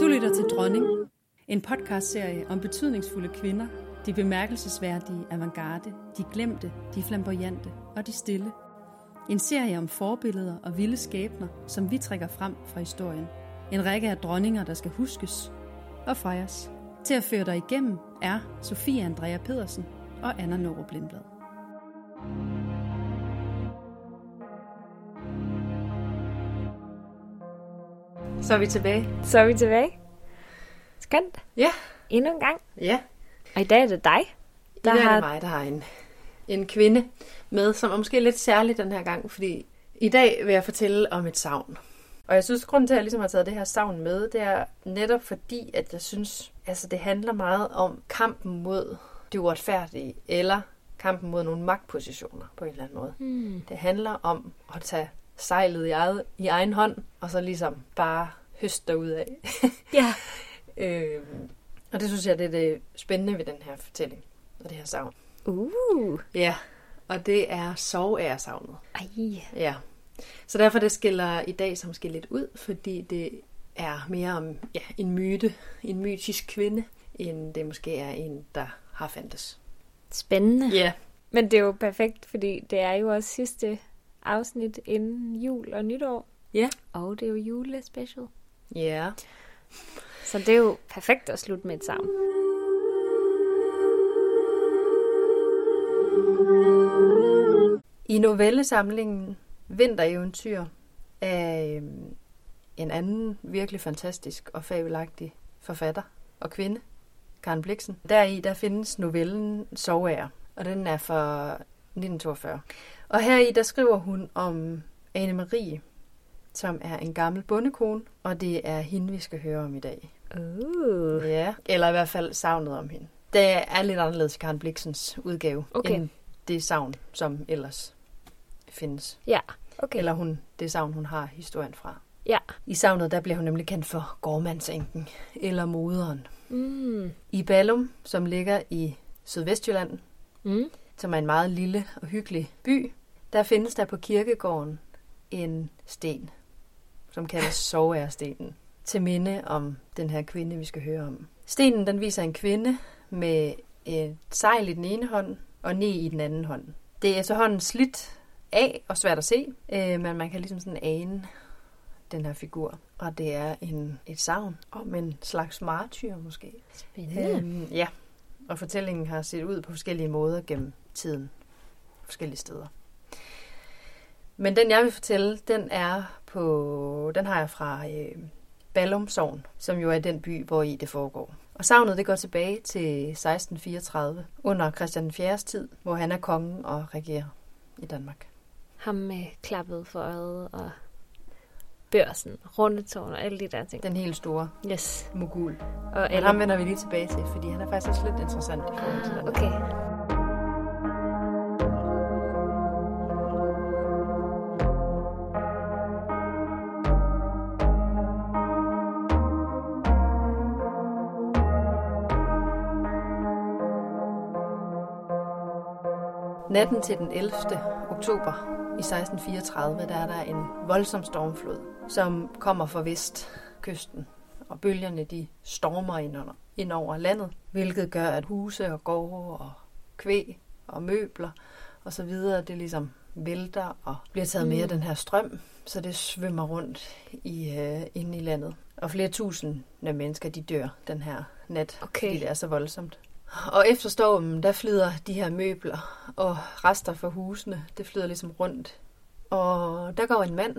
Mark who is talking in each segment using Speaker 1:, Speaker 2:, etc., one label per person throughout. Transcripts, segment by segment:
Speaker 1: Du lytter til Dronning, en podcastserie om betydningsfulde kvinder, de bemærkelsesværdige avantgarde, de glemte, de flamboyante og de stille. En serie om forbilleder og vilde skæbner, som vi trækker frem fra historien. En række af dronninger, der skal huskes og fejres. Til at føre dig igennem er Sofie Andrea Pedersen og Anna Norup Lindblad. Så er vi tilbage.
Speaker 2: Så er vi tilbage. Skønt.
Speaker 3: Ja,
Speaker 2: Endnu en gang.
Speaker 3: ja.
Speaker 2: Og i dag er det dig,
Speaker 3: Der
Speaker 2: der
Speaker 3: I dag er
Speaker 2: har
Speaker 3: det mig, der har en, en kvinde med, som er måske lidt særlig den her gang, fordi i dag vil jeg fortælle om et savn. Og jeg synes, grunden til, at jeg ligesom har taget det her savn med, det er netop fordi, at jeg synes, altså det handler meget om kampen mod det uretfærdige, eller kampen mod nogle magtpositioner på en eller anden måde. Mm.
Speaker 2: Hmm.
Speaker 3: Det handler om at tage sejlet i, eget, i egen hånd, og så ligesom bare høste derudad.
Speaker 2: Ja.
Speaker 3: øh, og det synes jeg, det er det spændende ved den her fortælling, og det her savn.
Speaker 2: Uh.
Speaker 3: Ja, og det er soværdsavnet.
Speaker 2: Ej.
Speaker 3: Ja. Så derfor det skiller i dag som måske lidt ud, fordi det er mere om ja, en myte, en mytisk kvinde, end det måske er en, der har fandtes.
Speaker 2: Spændende.
Speaker 3: Ja,
Speaker 2: Men det er jo perfekt, fordi det er jo også sidste afsnit inden jul og nytår.
Speaker 3: Ja.
Speaker 2: Og det er jo julespecial.
Speaker 3: ja.
Speaker 2: Så det er jo perfekt at slutte med et savn.
Speaker 3: I novellesamlingen Vintereventyr af øhm, en anden virkelig fantastisk og fabelagtig forfatter og kvinde, Karen Bliksen. Deri der findes novellen Sovager, og den er fra 1942. Og her i der skriver hun om Anne Marie, som er en gammel bondekone, og det er hende, vi skal høre om i dag.
Speaker 2: Uh.
Speaker 3: Ja, eller i hvert fald savnet om hende. Det er lidt anderledes i Karen Bliksens udgave,
Speaker 2: Okay.
Speaker 3: end det savn, som ellers findes.
Speaker 2: Ja, okay.
Speaker 3: Eller hun, det savn, hun har historien fra.
Speaker 2: Ja.
Speaker 3: I savnet, der bliver hun nemlig kendt for gårdmandsenken, eller moderen.
Speaker 2: Mm.
Speaker 3: I Ballum, som ligger i Sydvestjylland,
Speaker 2: Mm.
Speaker 3: som er en meget lille og hyggelig by, der findes der på kirkegården en sten, som kaldes Soværstenen, til minde om den her kvinde, vi skal høre om. Stenen den viser en kvinde med et sejl i den ene hånd og ne i den anden hånd. Det er efterhånden slidt af og svært at se, øh, men man kan ligesom sådan ane den her figur. Og det er en, et savn om en slags martyr måske.
Speaker 2: Spændende.
Speaker 3: Øhm, ja, og fortællingen har set ud på forskellige måder gennem tiden. Forskellige steder. Men den, jeg vil fortælle, den er på, den har jeg fra øh, Ballum Sogn, som jo er den by, hvor i det foregår. Og savnet det går tilbage til 1634, under Christian IV's tid, hvor han er kongen og regerer i Danmark.
Speaker 2: Ham med klappet for øjet og børsen, rundetårn og alle de der ting.
Speaker 3: Den helt store
Speaker 2: Yes.
Speaker 3: mogul.
Speaker 2: Og
Speaker 3: Men
Speaker 2: alle...
Speaker 3: ham vender vi lige tilbage til, fordi han er faktisk også lidt interessant i forhold til
Speaker 2: Ah,
Speaker 3: den.
Speaker 2: okay.
Speaker 3: Natten til den 11. oktober i 1634, der er der en voldsom stormflod, som kommer fra vestkysten, og bølgerne de stormer ind, under, ind over landet, hvilket gør, at huse og gårde og kvæg og møbler og så videre, det ligesom vælter og bliver taget med af den her strøm, så det svømmer rundt i, øh, inde i landet. Og flere tusind mennesker, de dør den her nat,
Speaker 2: Okay.
Speaker 3: fordi det er så voldsomt. Og efter stormen, der flyder de her møbler og rester fra husene, det flyder ligesom rundt. Og der går en mand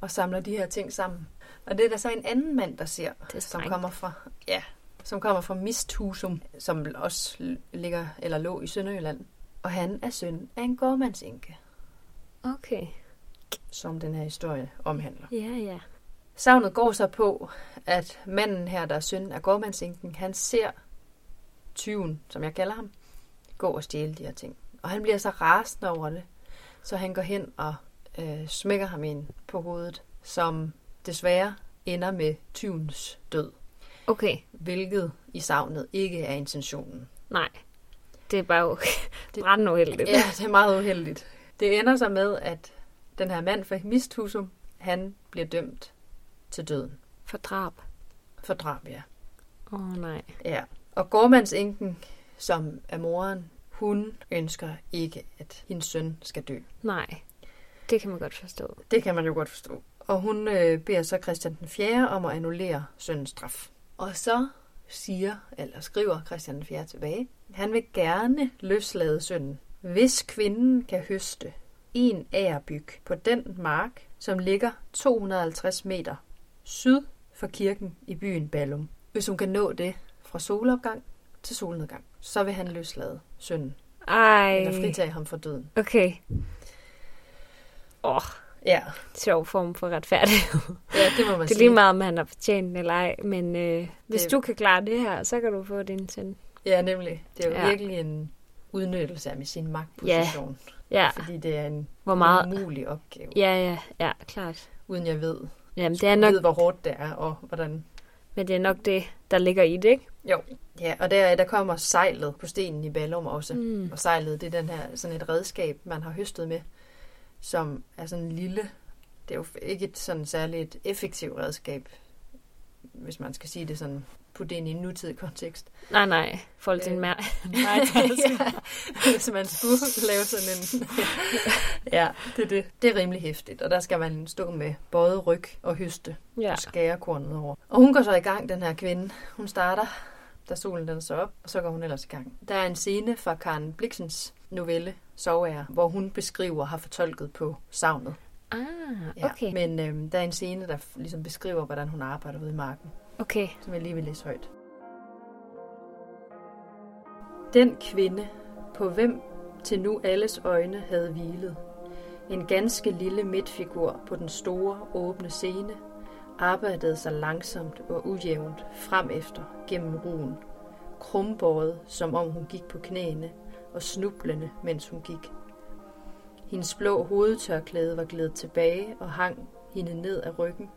Speaker 3: og samler de her ting sammen. Og det er der så en anden mand, der ser,
Speaker 2: Det
Speaker 3: som
Speaker 2: er strengt.
Speaker 3: kommer fra, ja, som kommer fra Misthusum, som også ligger eller lå i Sønderjylland. Og han er søn af en gårdmandsenke.
Speaker 2: Okay.
Speaker 4: som den her historie omhandler.
Speaker 2: Ja, ja.
Speaker 4: Savnet går så på, at manden her, der er søn af gårdmandsinken, han ser tyven, som jeg kalder ham, gå og stjæle de her ting. Og han bliver så rasende over det, så han går hen og øh, smækker ham ind på hovedet, som desværre ender med tyvens død,
Speaker 2: Okay,
Speaker 4: hvilket i savnet ikke er intentionen.
Speaker 2: nej. Det er bare okay.
Speaker 4: Det-
Speaker 2: Brændende uheldigt.
Speaker 4: Ja, det er meget uheldigt. Det ender så med, at den her mand fra Misthusum, han bliver dømt til døden
Speaker 2: For drab.
Speaker 4: for drab, ja.
Speaker 2: Åh oh, nej.
Speaker 4: Ja, og gårdmandsenken, som er moren, hun ønsker ikke, at hendes søn skal dø.
Speaker 2: Nej. Det kan man godt forstå.
Speaker 4: Det kan man jo godt forstå. Og hun øh, beder så Christian den 4. om at annullere sønnens straf. Og så siger, eller skriver Christian den 4. tilbage, han vil gerne løslade sønnen, hvis kvinden kan høste en ærbyg på den mark, som ligger 250 meter syd for kirken i byen Ballum. Hvis hun kan nå det fra solopgang til solnedgang, så vil han løslade sønnen,
Speaker 2: Ej.
Speaker 4: eller fritage ham fra døden.
Speaker 2: Okay. Åh, oh,
Speaker 4: Ja,
Speaker 2: sjov form for retfærdighed.
Speaker 4: ja det må man
Speaker 2: Det er
Speaker 4: sige.
Speaker 2: lige meget, om han har fortjent den eller ej, men øh, hvis
Speaker 4: Det-
Speaker 2: du kan klare det her, så kan du få din søn.
Speaker 4: Ja, nemlig. Det er jo
Speaker 2: Ja.
Speaker 4: ja. virkelig en udnyttelse af sin magtposition, ja.
Speaker 2: Ja,
Speaker 4: fordi det er en
Speaker 2: hvor meget...
Speaker 4: meget... umulig opgave, ja.
Speaker 2: Ja, ja, ja, klart.
Speaker 4: uden jeg ved,
Speaker 2: Jamen, det er
Speaker 4: nok...
Speaker 2: nok,
Speaker 4: ved, hvor hårdt det er, og hvordan.
Speaker 2: men det er nok det, der ligger i det, ikke?
Speaker 4: Ja, og der, der kommer sejlet på stenen i Ballum også. Mm.
Speaker 2: Mm.
Speaker 4: Og sejlet, det er den her, sådan et redskab, man har høstet med, som er sådan en lille, det er jo ikke et sådan særligt effektivt redskab, hvis man skal sige det sådan, putte det ind i en nutidig kontekst.
Speaker 2: Nej, nej, folk til en altså.
Speaker 4: Øh.
Speaker 2: mær.
Speaker 4: ja. Hvis man skulle lave sådan en... ja, det er det. Det er rimelig hæftigt, og der skal man stå med både ryg og høste ja.
Speaker 2: Ja,
Speaker 4: og skære kornet over. Og hun går så i gang, den her kvinde. Hun starter, da solen den så op, og så går hun ellers i gang. Der er en scene fra Karen Bliksens novelle Sovager, hvor hun beskriver har fortolket på savnet.
Speaker 2: ah, okay,
Speaker 4: Men øhm, der er en scene, der f- ligesom beskriver, hvordan hun arbejder ude i marken
Speaker 2: okay.
Speaker 4: som jeg lige vil læse højt. Den kvinde, på hvem til nu alles øjne havde hvilet, en ganske lille midtfigur på den store, åbne scene, arbejdede sig langsomt og ujævnt frem efter gennem ruen, krumbåret, som om hun gik på knæene, og snublende, mens hun gik. Hendes blå hovedtørklæde var glædet tilbage og hang hende ned ad ryggen,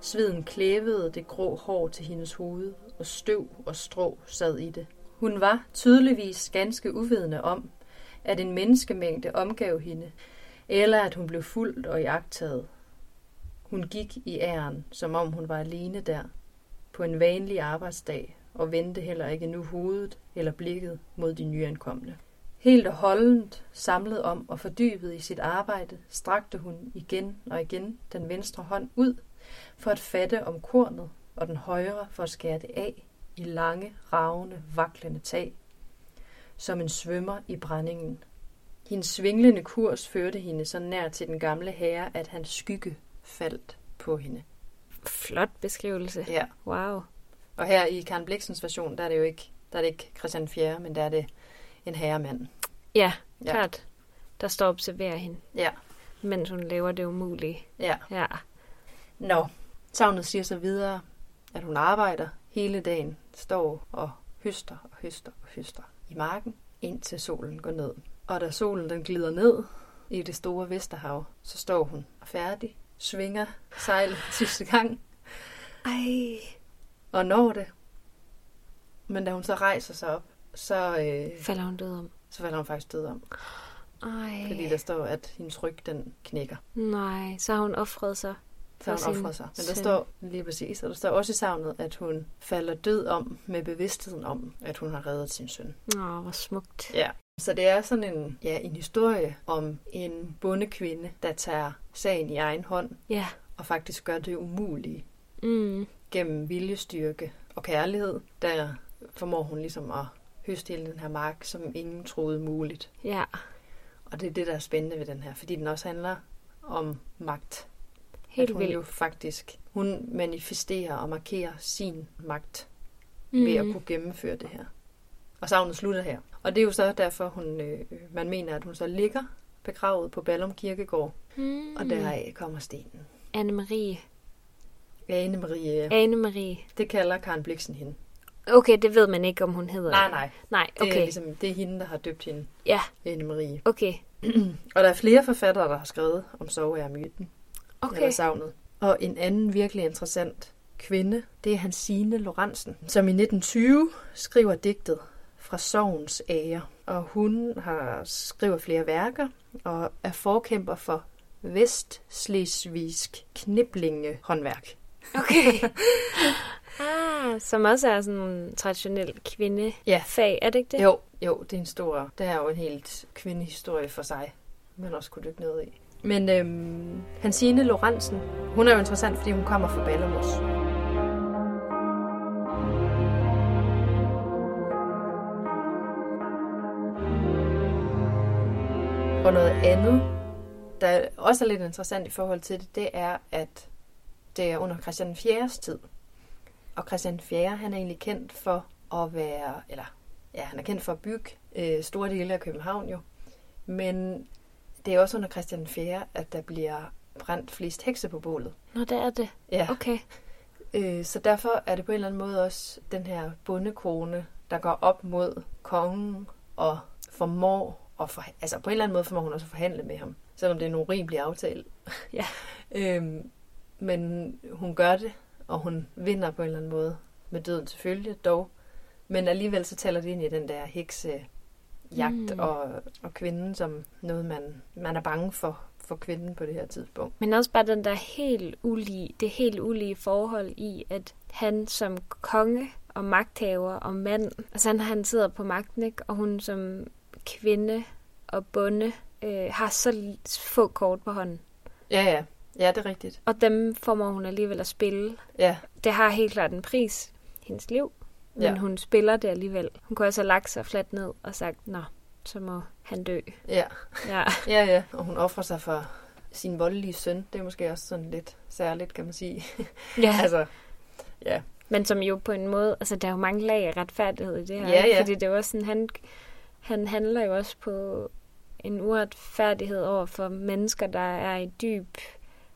Speaker 4: Sveden klævede det grå hår til hendes hoved, og støv og strå sad i det. Hun var tydeligvis ganske uvidende om, at en menneskemængde omgav hende, eller at hun blev fuldt og iagtaget. Hun gik i æren, som om hun var alene der, på en vanlig arbejdsdag, og vendte heller ikke nu hovedet eller blikket mod de nyankomne. Helt og holdent, samlet om og fordybet i sit arbejde, strakte hun igen og igen den venstre hånd ud for at fatte om kornet, og den højre for at skære det af i lange, ravne, vaklende tag, som en svømmer i brændingen. Hendes svinglende kurs førte hende så nær til den gamle herre, at hans skygge faldt på hende.
Speaker 2: Flot beskrivelse.
Speaker 4: Ja.
Speaker 2: Wow.
Speaker 4: Og her i Karen Bliksens version, der er det jo ikke, der er det ikke Christian 4., men der er det en herremand.
Speaker 2: Ja,
Speaker 4: Ja.
Speaker 2: klart. Der står og observerer hende,
Speaker 4: Ja,
Speaker 2: mens hun laver det umulige.
Speaker 4: ja.
Speaker 2: Ja,
Speaker 4: Nå, savnet siger så videre, at hun arbejder hele dagen, står og høster og høster og høster i marken, indtil solen går ned. Og da solen den glider ned i det store Vesterhav, så står hun færdig, svinger sejlet sidste gang
Speaker 2: Ej,
Speaker 4: og når det. Men da hun så rejser sig op, så, øh,
Speaker 2: falder hun død om.
Speaker 4: så falder hun faktisk død om,
Speaker 2: Ej,
Speaker 4: fordi der står, at hendes ryg den knækker.
Speaker 2: nej, så har hun offret sig.
Speaker 4: Så
Speaker 2: For
Speaker 4: hun
Speaker 2: sin
Speaker 4: offrer sig. Men der
Speaker 2: søn.
Speaker 4: står lige præcis, og der står også i savnet, at hun falder død om med bevidstheden om, at hun har reddet sin søn.
Speaker 2: Åh, hvor smukt.
Speaker 4: Ja. Så det er sådan en, ja, en historie om en bondekvinde, der tager sagen i egen hånd
Speaker 2: Ja,
Speaker 4: og faktisk gør det umulige
Speaker 2: mm.
Speaker 4: gennem viljestyrke og kærlighed. Der formår hun ligesom at høste hele den her mark, som ingen troede muligt.
Speaker 2: ja,
Speaker 4: Og det er det, der er spændende ved den her, fordi den også handler om magt. at
Speaker 2: helt
Speaker 4: hun jo
Speaker 2: vildt.
Speaker 4: faktisk, hun manifesterer og markerer sin magt mm. ved at
Speaker 2: Mm.
Speaker 4: kunne gennemføre det her. Og savnet slutter her. Og det er jo så derfor, hun, øh, man mener, at hun så ligger begravet på Ballum Kirkegård
Speaker 2: Mm.
Speaker 4: og deraf kommer stenen.
Speaker 2: Anne-Marie.
Speaker 4: Anne-Marie,
Speaker 2: Anne-Marie.
Speaker 4: det kalder Karen Bliksen hende.
Speaker 2: Okay, det ved man ikke, om hun hedder.
Speaker 4: Nej, nej.
Speaker 2: Nej,
Speaker 4: Det, okay. er
Speaker 2: okay.
Speaker 4: ligesom, det er hende, der har døbt hende,
Speaker 2: Ja,
Speaker 4: Anne-Marie.
Speaker 2: okay.
Speaker 4: Og der er flere forfattere, der har skrevet om sovejærmyten, okay.
Speaker 2: Okay.
Speaker 4: eller savnet. Og en anden virkelig interessant kvinde, det er Hansine Lorentzen, som i 1920 skriver digtet fra sovens ære. Og hun har skriver flere værker og er forkæmper for Vestslesvigsk kniblinge håndværk.
Speaker 2: Okay. ah, som også er sådan en traditionel
Speaker 4: Ja.
Speaker 2: kvindefag, er det ikke det?
Speaker 4: Jo, jo, det er en stor... Det er jo en helt kvindehistorie for sig, man også kunne dykke ned i. Men øhm, Hansine Lorentzen, hun er jo interessant, fordi hun kommer fra Ballamos. Og noget andet, der også er lidt interessant i forhold til det, det er, at det er under Christian IV's tid. Og Christian IV, han er egentlig kendt for at være, eller ja, han er kendt for at bygge øh, store dele af København jo. Men det er også under Christian 4., at der bliver brændt flest hekse på bålet.
Speaker 2: Nå, der er det.
Speaker 4: Ja.
Speaker 2: Okay.
Speaker 4: Øh, så derfor er det på en eller anden måde også den her bondekone, der går op mod kongen og formår, og for, altså på en eller anden måde formår hun også at forhandle med ham, selvom det er en urimelig aftale.
Speaker 2: Ja.
Speaker 4: øhm, men hun gør det, og hun vinder på en eller anden måde med døden selvfølgelig dog. Men alligevel så taler det ind i den der heksejagt
Speaker 2: Mm.
Speaker 4: mm. og, og kvinden som noget, man, man er bange for, for kvinden på det her tidspunkt.
Speaker 2: Men også bare den der helt ulige, det helt ulige forhold i, at han som konge og magthaver og mand, og sådan han sidder på magten, ikke? og hun som kvinde og bonde øh, har så l- få kort på hånden.
Speaker 4: Ja, ja. Ja, det er rigtigt.
Speaker 2: Og dem formår hun alligevel at spille.
Speaker 4: Ja,
Speaker 2: Det har helt klart en pris, hendes liv, men ja.
Speaker 4: Ja.
Speaker 2: hun spiller det alligevel. Hun kunne også have lagt sig fladt ned og sagt, nå, så må han dø.
Speaker 4: ja.
Speaker 2: Ja,
Speaker 4: Ja, ja, og hun offrer sig for sin voldelige søn. Det er måske også sådan lidt særligt, kan man sige.
Speaker 2: ja.
Speaker 4: altså,
Speaker 2: Men som jo på en måde, altså der er jo mange lag af retfærdighed i det her.
Speaker 4: Ja,
Speaker 2: ikke?
Speaker 4: ja.
Speaker 2: Fordi det er jo også sådan, han, han handler jo også på en uretfærdighed over for mennesker, der er i dyb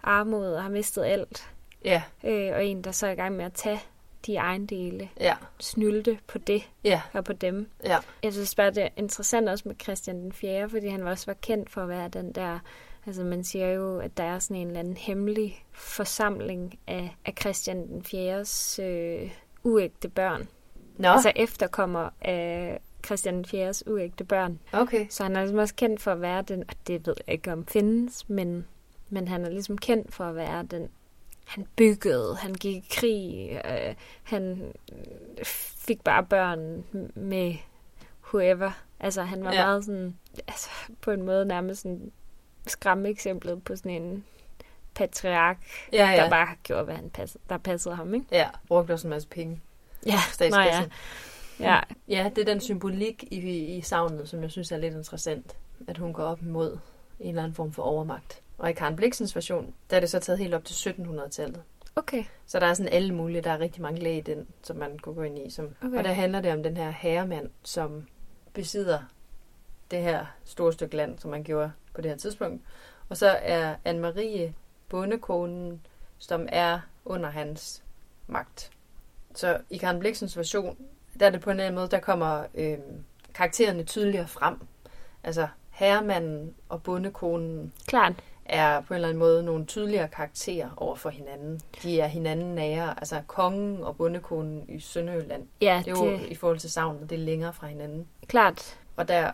Speaker 2: armod og har mistet alt.
Speaker 4: ja,
Speaker 2: Øh, og en, der så er i gang med at tage de ejendele,
Speaker 4: ja,
Speaker 2: snylde på det
Speaker 4: ja,
Speaker 2: og på dem.
Speaker 4: ja,
Speaker 2: Jeg synes bare, det er interessant også med Christian den 4., fordi han også var kendt for at være den der... Altså man siger jo, at der er sådan en eller anden hemmelig forsamling af, af Christian den 4.s øh, uægte børn.
Speaker 4: Nå,
Speaker 2: Altså efterkommer af Christian den 4.s uægte børn.
Speaker 4: okay.
Speaker 2: Så han er ligesom også kendt for at være den, og det ved jeg ikke om findes, men, men han er ligesom kendt for at være den. Han byggede, han gik i krig, øh, han øh, fik bare børn med whoever. Altså han var ja.
Speaker 4: Ja.
Speaker 2: meget sådan, altså på en måde nærmest sådan skræmme eksemplet på sådan en patriark,
Speaker 4: Ja,
Speaker 2: ja. der
Speaker 4: ja,
Speaker 2: bare gjorde, hvad han passede, der passede ham, ikke?
Speaker 4: ja. Brugte også en masse penge.
Speaker 2: Ja, Nå, ja.
Speaker 4: Statskassen.
Speaker 2: ja.
Speaker 4: ja, det er den symbolik i, i savnet, som jeg synes er lidt interessant. At hun går op imod en eller anden form for overmagt. Og i Karen Bliksens version, der er det så taget helt op til 1700-tallet.
Speaker 2: Okay,
Speaker 4: Så der er sådan alle mulige, der er rigtig mange lag i den, som man kunne gå ind i. Som, okay. Og der handler det om den her herremand, som besidder det her store stykke land, som man gjorde på det her tidspunkt. Og så er Anne-Marie bondekonen, som er under hans magt. Så i Karen Bliksens version, der er det på en eller anden måde, der kommer øh, karaktererne tydeligere frem. Altså herremanden og bondekonen
Speaker 2: klart.
Speaker 4: er på en eller anden måde nogle tydeligere karakterer over for hinanden. De er hinanden nære, altså kongen og bondekonen i Sønderjylland.
Speaker 2: Ja,
Speaker 4: Det er jo
Speaker 2: det
Speaker 4: i forhold til savnet, det er længere fra hinanden.
Speaker 2: er klart.
Speaker 4: Og der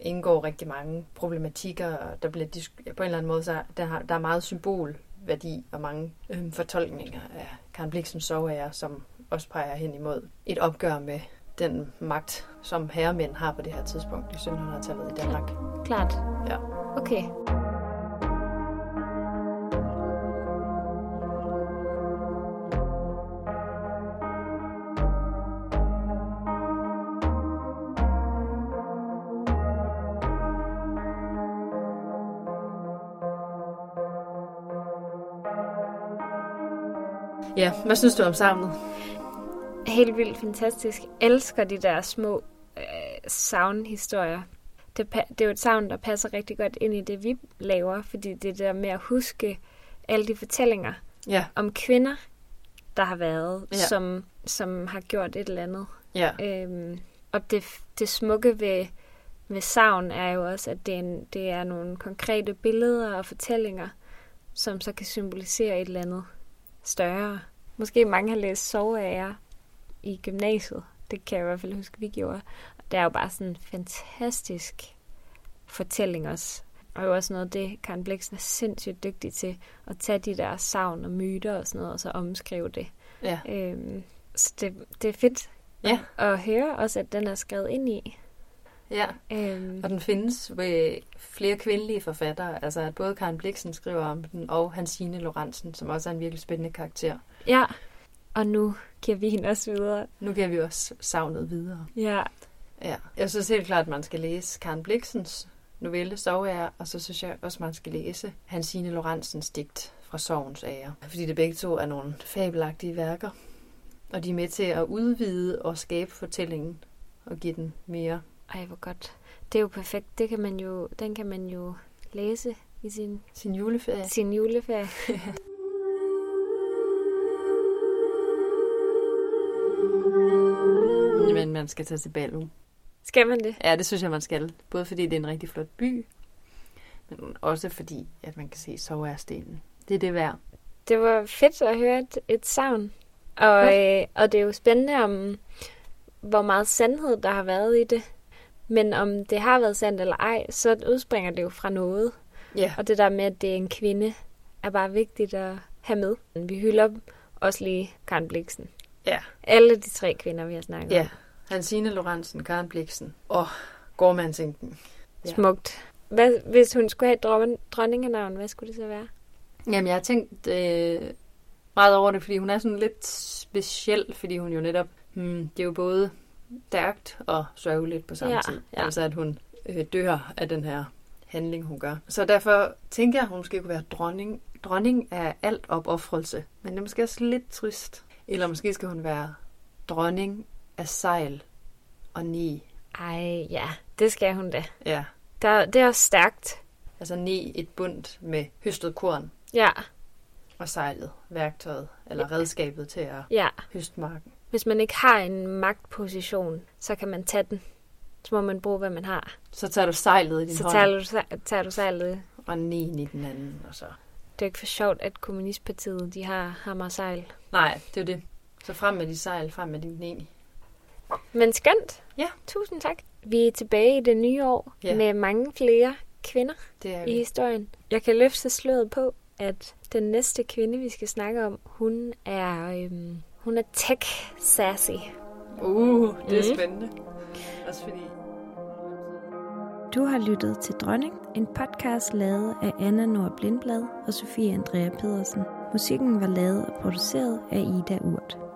Speaker 4: indgår rigtig mange problematikker, og der bliver disk- ja, på en eller anden måde, så der, har, der er meget symbolværdi og mange øhm, fortolkninger af Karen Bliksens soveære, som også peger hen imod et opgør med den magt, som herremænd har på det her tidspunkt i 1700-tallet i Danmark.
Speaker 2: Klart.
Speaker 4: Ja.
Speaker 2: Okay.
Speaker 4: Ja, hvad synes du om savnet?
Speaker 2: Helt vildt fantastisk. Elsker de der små øh, soundhistorier. det, pa- det er jo et savn, der passer rigtig godt ind i det, vi laver, fordi det er det der med at huske alle de fortællinger
Speaker 4: Ja,
Speaker 2: om kvinder, der har været,
Speaker 4: Ja.
Speaker 2: ja. som, som har gjort et eller andet.
Speaker 4: ja,
Speaker 2: Øhm, og det, det smukke ved, ved savn er jo også, at det er, en, det er nogle konkrete billeder og fortællinger, som så kan symbolisere et eller andet større. Måske mange har læst soveager i gymnasiet. Det kan jeg i hvert fald huske, vi gjorde. Og det er jo bare sådan en fantastisk fortælling også. Og jo også noget af det, Karen Bliksen er sindssygt dygtig til, at tage de der savn og myter og sådan noget, og så omskrive det.
Speaker 4: ja.
Speaker 2: Øhm, så det, det er fedt
Speaker 4: Ja.
Speaker 2: at høre også, at den er skrevet ind i.
Speaker 4: ja.
Speaker 2: Øhm,
Speaker 4: Og den findes ved flere kvindelige forfattere, altså at både Karen Bliksen skriver om den, og Hansine Lorentzen, som også er en virkelig spændende karakter.
Speaker 2: ja, og nu giver vi hende også videre.
Speaker 4: Nu giver vi også savnet videre.
Speaker 2: Ja,
Speaker 4: Ja. Jeg synes helt klart, at man skal læse Karen Bliksens novelle Soveære, og så synes jeg også, at man skal læse Hansine Lorentzens digt fra Sovens Ære. Fordi det begge to er nogle fabelagtige værker, og de er med til at udvide og skabe fortællingen og give den mere.
Speaker 2: ej hvor godt. Det er jo perfekt. Det kan man jo, den kan man jo læse i sin,
Speaker 4: Sin juleferie.
Speaker 2: sin juleferie.
Speaker 4: Men man skal tage til Ballen.
Speaker 2: Skal man det?
Speaker 4: Ja, det synes jeg, man skal. Både fordi det er en rigtig flot by, men også fordi, at man kan se Soveærstenen. Det er det værd.
Speaker 2: Det var fedt at høre et, et savn. Og, øh, og det er jo spændende om, hvor meget sandhed der har været i det. Men om det har været sandt eller ej, så udspringer det jo fra noget.
Speaker 4: Ja.
Speaker 2: Og det der med, at det er en kvinde, er bare vigtigt at have med. Vi hylder også lige Karen Bliksen.
Speaker 4: Ja.
Speaker 2: Alle de tre kvinder, vi har snakket
Speaker 4: Ja.
Speaker 2: om.
Speaker 4: Hansine Lorentzen, Karen Bliksen og Gormandsengten. Ja.
Speaker 2: Smukt. Hvad, hvis hun skulle have et dron- dronningenavn, hvad skulle det så være?
Speaker 4: Jamen, jeg har tænkt øh, meget over det, fordi hun er sådan lidt speciel, fordi hun jo netop, hmm, det er jo både stærkt og sørgeligt på samme
Speaker 2: Ja,
Speaker 4: tid.
Speaker 2: ja.
Speaker 4: Altså, at hun øh, dør af den her handling, hun gør. Så derfor tænker jeg, at hun måske kunne være dronning. Dronning er alt opoffrelse, men det er måske også lidt trist. Eller måske skal hun være dronning af sejl og ni.
Speaker 2: Ej, ja, det skal hun da.
Speaker 4: Ja,
Speaker 2: Der, det er også stærkt.
Speaker 4: altså ni et bundt med høstet korn
Speaker 2: Ja,
Speaker 4: og sejlet, værktøjet eller redskabet til at
Speaker 2: ja.
Speaker 4: høste marken.
Speaker 2: Hvis man ikke har en magtposition, så kan man tage den. Så må man bruge, hvad man har.
Speaker 4: Så tager du sejlet i din
Speaker 2: Så
Speaker 4: hånd,
Speaker 2: tager du, sej- tager du sejlet.
Speaker 4: og nien i den anden, og så...
Speaker 2: Det er ikke for sjovt, at Kommunistpartiet de har hammer og sejl.
Speaker 4: Nej, det er jo det. Så frem med de sejl, frem med din nen.
Speaker 2: Men skønt.
Speaker 4: Ja.
Speaker 2: Tusind tak. Vi er tilbage i det nye år
Speaker 4: Ja.
Speaker 2: ja. med mange flere kvinder
Speaker 4: Det er
Speaker 2: i
Speaker 4: vi.
Speaker 2: historien. Jeg kan løfte sløret på, at den næste kvinde, vi skal snakke om, hun er, øhm, hun er tech-sassy.
Speaker 4: Uh, det er
Speaker 2: Mhm.
Speaker 4: spændende. Også fordi...
Speaker 5: Du har lyttet til Dronning, en podcast lavet af Anna Nord Blindblad og Sofie Andrea Pedersen. Musikken var lavet og produceret af Ida Urt.